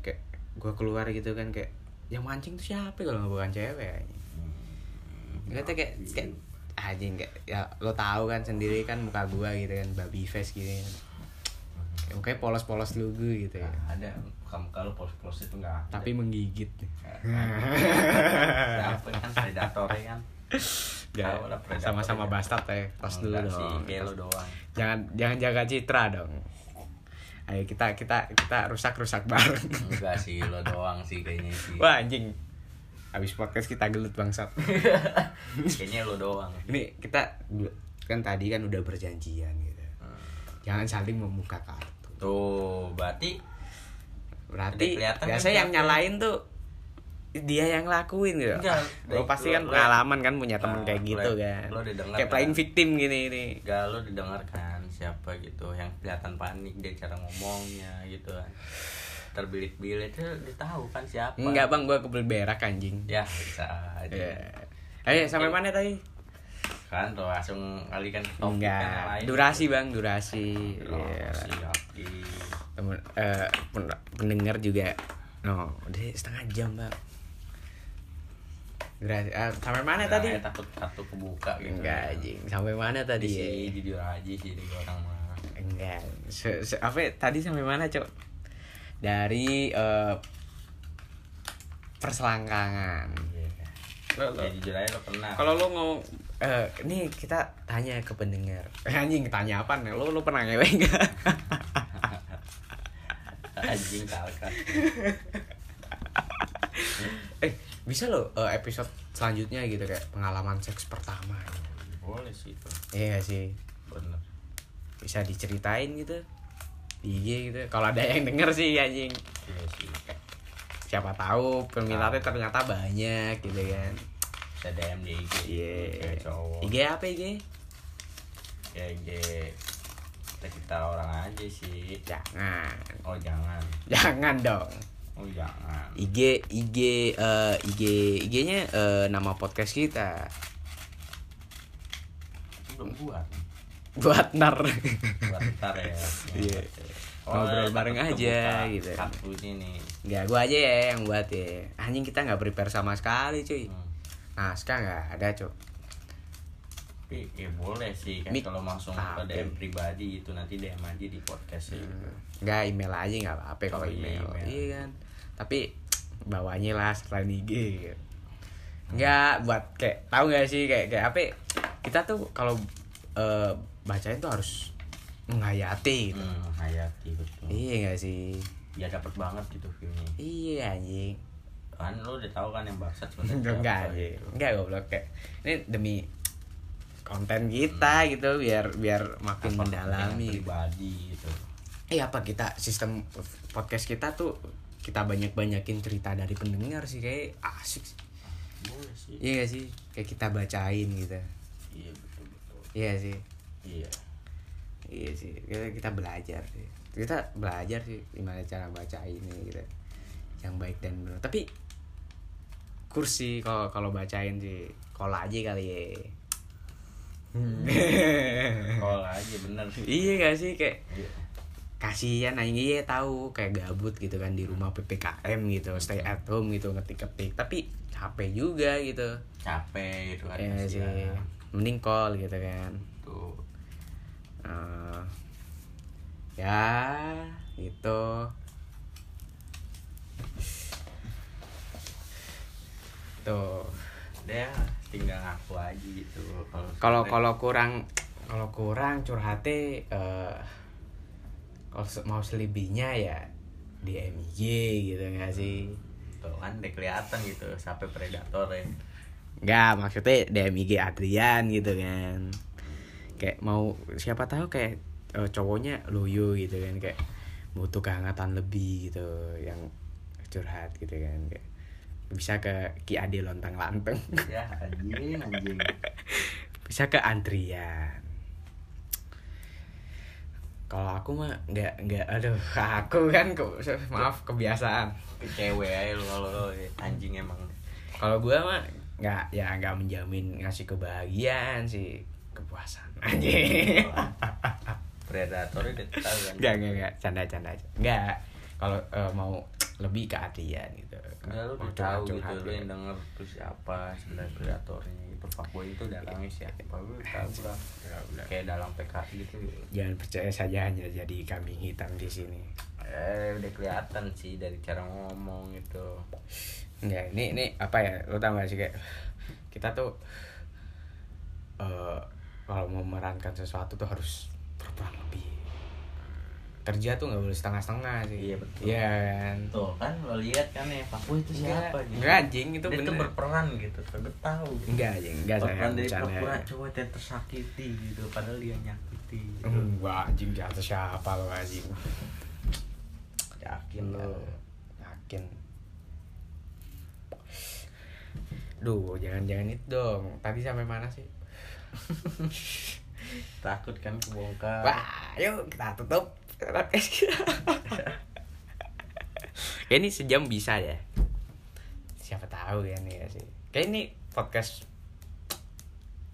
kayak gue keluar gitu kan kayak yang mancing tuh siapa ya kalau nggak bukan cewek anjing. Hmm, gue tuh kayak kayak anjing kayak ya lo tahu kan sendiri kan muka gua gitu kan babi face gitu kan Kayak mukanya polos-polos lugu gitu ya Nah, Ada kamu kalau polos-polos itu enggak. ada. tapi menggigit siapa kan predator kan. Ya, Tahu lah predator sama-sama ya. bastard ya pas dulu Enggak sih, dong kayak lo doang. jangan jangan jaga citra dong ayo kita kita kita rusak rusak bareng Enggak sih, lo doang sih kayaknya sih. wah anjing habis podcast kita gelut bangsat Kayaknya lo doang. ini kita kan tadi kan udah berjanjian gitu jangan saling membuka kartu Hmm. Tuh, berarti Udah berarti kelihatan biasanya kan yang nyalain tuh dia yang lakuin gitu Enggak, lo baik, pasti lo- kan lo- pengalaman kan punya temen Nah, kayak lo- gitu kan lo udah dengar kayak kan? playing victim gini ini Gak lo didengarkan siapa gitu yang kelihatan panik dia cara ngomongnya gitu kan terbilit-bilit itu ditahu kan siapa enggak bang gua kebel berak anjing ya bisa aja Eh, Ayo Iya. sampai mana tadi? kan tuh langsung alihkan ke topik kan yang Enggak, lain. Oh, durasi bang, durasi. Iya. durasi oke Temen, eh, pen- pendengar juga. No, udah setengah jam bang. Durasi, ah, sampai mana Nah, tadi? ya takut satu kebuka gitu Enggak, anjing. Sampai mana tadi? ya? sih jujur aja sih dari orang mah Enggak. Se, se- apa? ya? Tadi sampai mana, cok? Dari eh, perselangkangan. Iya. Lo- lo- ya jujur aja lo pernah Kalau lo mau eh nih kita tanya ke pendengar. <laughs> Eh, Anjing tanya apa nih? Lo lo pernah ngewe <laughs> enggak? anjing kalkan eh, bisa lo eh, episode selanjutnya gitu kayak pengalaman seks pertama. boleh sih itu Iya nggak sih. bener Bisa diceritain gitu. Di IG gitu. Kalau ada yang denger sih anjing. iya sih Siapa tahu peminatnya ternyata banyak gitu kan. bisa DM di IG Iya. Cewek cowok IG apa IG? ya ge kita kita orang aja sih <laughs> Jangan. oh jangan Jangan dong. oh jangan IG IG eh, IG IG-nya eh, nama podcast kita. Itu belum buat buat nar buat ntar ya <laughs> Oh, Iya. Ngobrol bareng aja, gitu. kartu ini nggak gua aja ya yang buat ya anjing kita nggak prepare sama sekali cuy Hmm. naskah nggak ada cuy tapi ya boleh sih kan Mik. kalau langsung Ah, ke oke. DM pribadi gitu nanti DM aja di podcast sih Hmm. gitu. nggak email aja nggak apa-apa kalau Oh, iya, email. email. iya kan tapi bawanya lah selain IG gitu. nggak buat kayak tahu nggak sih kayak kayak apa ya? kita tuh kalau eh, bacain tuh harus menghayati gitu. hmm, hayati betul iya nggak sih ya dapet banget gitu filmnya iya anjing kan lu udah tahu kan yang bangsat sebenarnya <laughs> enggak iya. siapa sih gitu. enggak goblok kayak ini demi konten kita gitu biar biar Apa Iya, makin yang mendalami Iya, pribadi gitu eh apa kita sistem podcast kita tuh kita banyak-banyakin cerita dari pendengar sih kayak asik sih. boleh sih Iya gak sih? Kayak kita bacain gitu. iya betul betul Iya gak sih. iya Iya sih. Kita, kita belajar sih. Kita belajar sih gimana cara bacainnya gitu. Yang baik dan benar. Tapi kursi kalau kalau bacain sih kola aja kali ya. Eh. call aja bener <laughs> iya gak sih kayak Iya. kasihan aja iya tahu kayak gabut gitu kan di rumah ppkm gitu stay at home gitu ngetik-ketik tapi capek juga gitu capek gitu kan Iya sih. kasihan. Mending call gitu kan. tuh Eh, ya, gitu. Tuh. deh ya, tinggal aku aja gitu kalau Kalau kalau kurang kalau kurang curhatnya eh kalau se- mau selebihnya ya di MIG gitu nggak sih? tuh kan udah kelihatan gitu sampai predator ya Enggak, maksudnya DMIG Adrian gitu kan. Kayak mau siapa tahu kayak eh, cowoknya loyo gitu kan kayak butuh kehangatan lebih gitu yang curhat gitu kan kayak bisa ke Ki Ade lontang lanteng <laughs> ya anjing anjing bisa ke antrian kalau aku mah nggak nggak aduh <laughs> aku kan ke- maaf kebiasaan Ke cewek aja lu kalau lu anjing emang kalau gua mah nggak ya nggak menjamin ngasih kebahagiaan sih kepuasan <laughs> aja predatornya udah tahu kan nggak nggak nggak canda canda aja nggak kalau eh, mau lebih ke hatian gitu Enggak lu udah Mau tahu curhat-curhat gitu lu yang gitu. denger tuh siapa sebenarnya predatornya gitu fuckboy itu Iya. datangnya siapa lu tahu lah kayak dalam PKI gitu jangan percaya saja hanya jadi kambing hitam di sini eh udah kelihatan sih dari cara ngomong gitu nggak ini ini apa ya lu tahu nggak sih kayak kita tuh eh kalau mau merankan sesuatu tuh harus berperan lebih kerja tuh nggak boleh setengah-setengah sih Iya, betul. Iya kan? tuh kan lo lihat kan ya fuckboy itu Enggak, siapa gitu enggak anjing itu dia bener. tuh berperan gitu kagak tahu Enggak anjing, enggak saya Berperan dari bercanda. ya. pura-pura cowok yang tersakiti gitu padahal dia nyakiti gitu. Enggak anjing di atas siapa lo anjing. yakin kan? Iya. lo Yakin. Duh, jangan-jangan itu dong. Tadi sampai mana sih? takut kan Eh. kebongkar Wah, yuk kita tutup podcast <laughs> kita. Kayak ini sejam bisa ya. Siapa tahu ya nih ya sih. Kayak ini podcast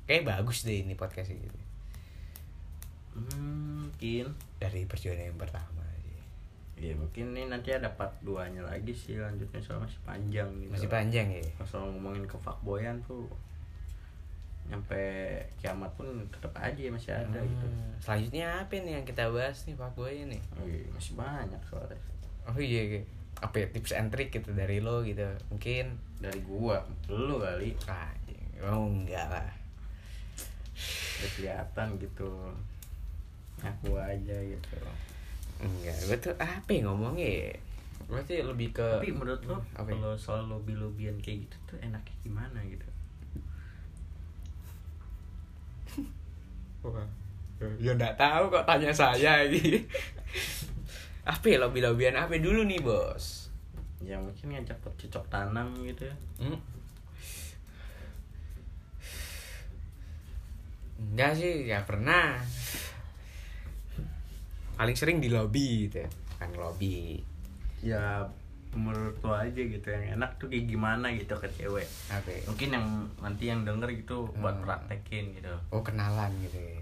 kayak bagus deh ini podcast ini. Hmm, mungkin Dari perjuangan yang pertama sih. ya mungkin ini nanti ada part 2 nya lagi sih lanjutnya soalnya masih panjang gitu Masih panjang ya. Kalau soal ngomongin ke fuckboyan tuh nyampe kiamat pun tetap aja masih ada gitu Hmm, Selanjutnya apa nih yang kita bahas nih Pak Boy ini? Wih, masih banyak soalnya Oh iya, iya. apa ya, tips and trick gitu dari lo gitu mungkin dari gua lu kali ah anjing. oh enggak lah udah kelihatan gitu aku aja gitu enggak gue tuh apa ya ngomongnya ya? Gua tuh lebih ke tapi menurut lo Apa ya? kalau soal lobby lobbyan kayak gitu tuh enaknya gimana gitu Wah, ya enggak tahu kok tanya saya ini <laughs> apa ya lobby lobbyan apa dulu nih bos ya mungkin ngajak bercocok tanam gitu ya Hmm? Enggak sih, nggak pernah. Paling sering di lobby gitu ya. Kan lobby. ya menurut lo aja gitu yang enak tuh kayak gimana gitu ke cewek Apa? ya? mungkin yang nanti yang denger gitu buat Hmm. praktekin gitu Oh, kenalan gitu. ya.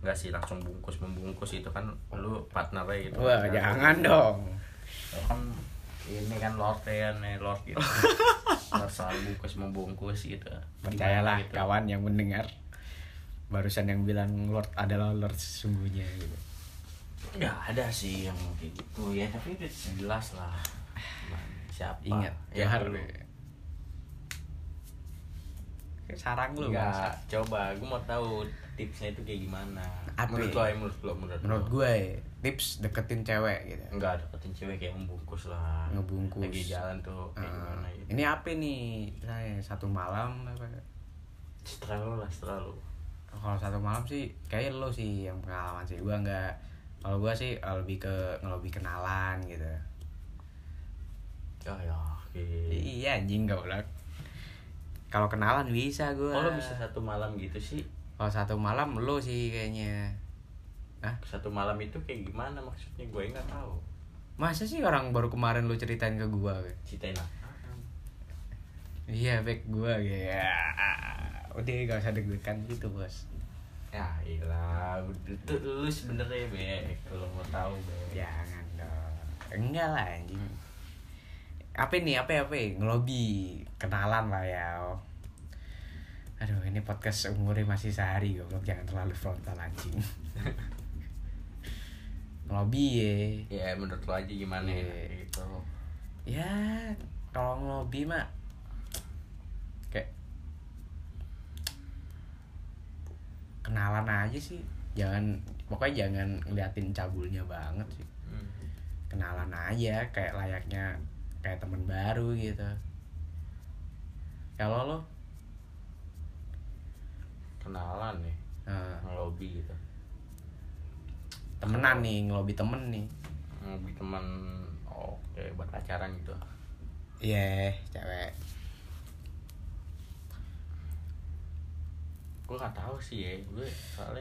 nggak sih langsung bungkus membungkus itu kan lu partnernya gitu Wah, Kan. jangan dong. Lu kan ini kan lord ya nih lord <laughs> gitu lord soal bungkus membungkus gitu Percayalah Gimana gitu. kawan yang mendengar barusan yang bilang Lord adalah Lord sesungguhnya gitu. nggak ya ada sih yang kayak gitu ya tapi udah jelas lah siapa Ingat, ya Johar. lu. Sarang lu, Enggak, Bang. coba gue mau tahu tipsnya itu kayak gimana. Apa Menurut ya? lo, ya, menurut lo, menurut, Menurut lo. gue tips deketin cewek gitu. Enggak dapetin cewek kayak membungkus lah. Ngebungkus. Lagi jalan tuh kayak gimana Ah, gitu. ini apa nih? Misalnya satu malam apa? Setelah lo lah, setelah lo. Kalau satu malam sih kayak lo sih yang pengalaman sih. Gua nggak. Kalau gua sih eh, lebih ke lebih kenalan gitu. oh ya oke Iya anjing goblok. Kalau kenalan bisa gua. kalau bisa satu malam gitu sih Kalau satu malam lo sih kayaknya. Hah? satu malam itu kayak gimana maksudnya gue nggak tahu Masa sih orang baru kemarin lu ceritain ke gua? Be? ceritain lah Iya, back gua ya. Udah gak usah deg-degan gitu, Bos. ya ilah itu lu sebenernya be kalau mau tahu be Jangan dong. Enggak lah anjing. Apa nih? Apa apa? Ngelobi kenalan lah ya. Aduh, ini podcast umurnya masih sehari goblok, jangan terlalu frontal anjing. Ngelobi ya. ya menurut lo aja gimana Iya. ya gitu Ya, kalau ngelobi mah kayak kenalan aja sih. Jangan pokoknya jangan ngeliatin cabulnya banget sih. Hmm. kenalan aja kayak layaknya kayak teman baru gitu kalau lo kenalan nih eh, ngelobi gitu temenan nih ngelobi temen nih ngelobi teman oke oh, buat pacaran gitu iya cewek gue nggak tahu sih ya gue soalnya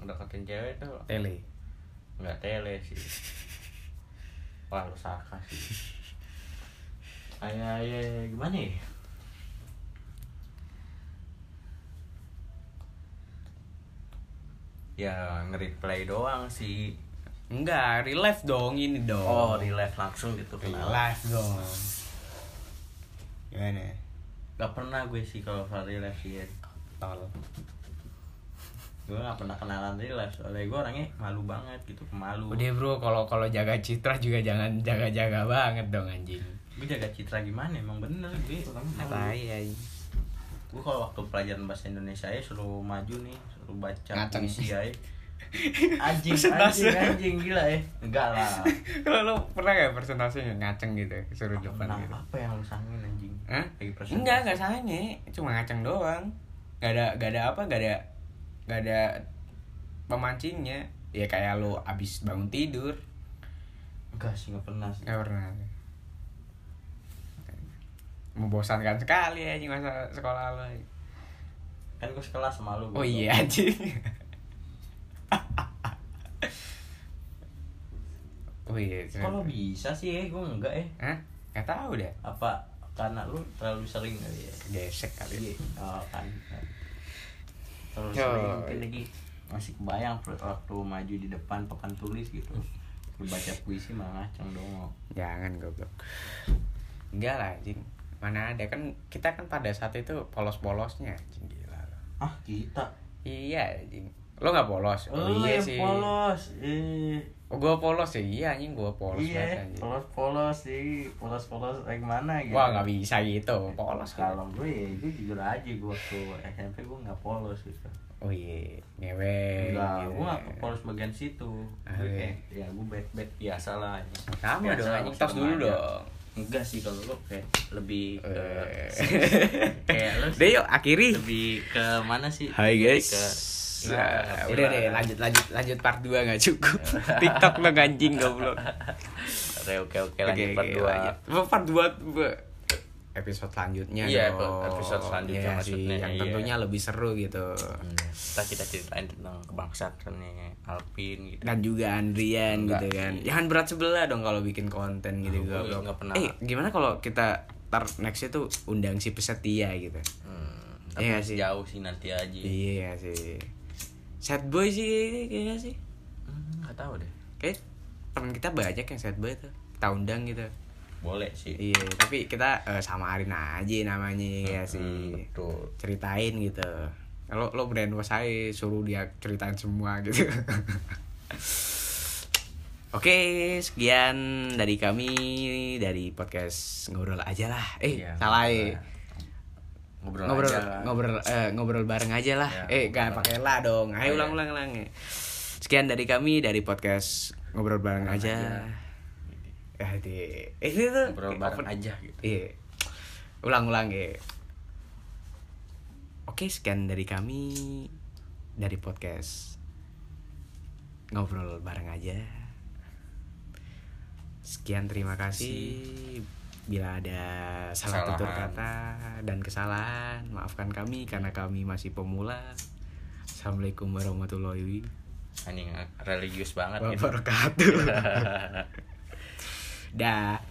ngedeketin cewek tuh tele nggak tele sih wah lu sarkas sih ayah ayah gimana ya ya nge-reply doang sih enggak real life dong ini dong oh relate langsung gitu real kenal life dong gimana gak pernah gue sih kalau soal relate sih ya. tol gue gak pernah kenalan relate soalnya gue orangnya malu banget gitu pemalu udah bro kalau kalau jaga citra juga jangan jaga-jaga banget dong anjing gue jaga citra gimana emang bener gue orangnya malu tai gue kalau waktu pelajaran bahasa Indonesia ya suruh maju nih suruh baca Ngaceng. puisi <laughs> ya anjing Persentase. anjing anjing gila ya enggak lah kalau lo pernah gak presentasinya ngaceng gitu suruh depan Nah, gitu apa yang lu sangin anjing Hah? lagi presentasi Enggak, enggak sange, cuma ngaceng doang. Gak ada gak ada apa, gak ada gak ada pemancingnya. Ya kayak lo abis bangun tidur. enggak sih enggak pernah sih Gak pernah. Membosankan sekali anjing masa sekolah lo. kan gue sekelas sama lu Oh gua iya anjing. <laughs> oh iya. tau. kok lu bisa sih ya gue enggak ya Hah? Gak tau dah. apa karena lu terlalu sering kali ya Gesek kali. iya oh, kan terlalu Yo. sering mungkin lagi masih kebayang waktu maju di depan papan tulis <laughs> gitu lu baca puisi malah ngaceng dong Jangan Ya kan, goblok. Enggak lah anjing. Mana ada kan kita kan pada saat itu polos-polosnya anjing gila lo. ah kita Iya anjing. Lo nggak polos? Oh, iya yang sih. polos. Eh, Oh, gua polos ya. Iya anjing gua polos banget iya, anjing. polos-polos sih. Polos-polos kayak mana gitu. Eh, Wah, nggak bisa gitu. Polos Kalau kalau. gue ya, gue jujur aja gue waktu SMP gue nggak polos gitu. Oh iya, ngewe. Enggak, gitu. gue nggak ke polos bagian situ. Ah, Gue iya. kayak, ya gue bad-bad biasa lah. Biasa Kamu dong lah, anjing masih tos dulu remaja. dong. Enggak sih kalau lo kayak lebih ke Eh. <laughs> kayak <laughs> lo Udah yuk akhiri. lebih ke mana sih? Hai Lebih guys. ke- Nah, Iya, udah iya. deh lanjut lanjut lanjut part 2 nggak <laughs> cukup. TikTok lo anjing goblok. Oke oke oke lanjut part oke, dua. lanjut. Apa part dua be- episode selanjutnya Iya, dong. episode selanjutnya Iya sih, maksudnya, yang iya. tentunya lebih seru gitu kita Iya. kita ceritain tentang kebangsaannya Alvin gitu dan juga Andrian Enggak gitu kan sih. jangan berat sebelah dong kalau bikin konten gitu Enggak, goblok. enggak pernah. eh gimana kalau kita tar next itu undang si pesetia gitu hmm, tapi Iya masih sih. jauh sih nanti aja iya sih sad boy sih kayaknya- kayaknya sih Hmm, nggak tahu deh kayak teman kita banyak yang sad boy tuh kita undang gitu boleh sih iya tapi kita eh, samarin aja namanya ya sih Hmm, betul ceritain gitu lo lo brainwash aja suruh dia ceritain semua gitu <laughs> oke sekian dari kami dari podcast ngobrol aja lah eh Iya, salah eh. ngobrol ngobrol aja lah. ngobrol eh, ngobrol bareng aja lah Ya, eh gak ngobrol. pakai lah dong Oh, iya. ayo ulang ulang ulang ya. sekian dari kami dari podcast ngobrol bareng aja, Eh, di- eh, ini tuh ngobrol eh, bareng open- aja gitu Iya. Ulang-ulang ya. Oke, sekian dari kami dari podcast ngobrol bareng aja. Sekian terima kasih. Bila ada salah Kesalahan. tutur kata dan kesalahan, maafkan kami karena kami masih pemula. Assalamualaikum warahmatullahi anjing religius banget gitu <laughs> <laughs> wabarakatuh. Dah.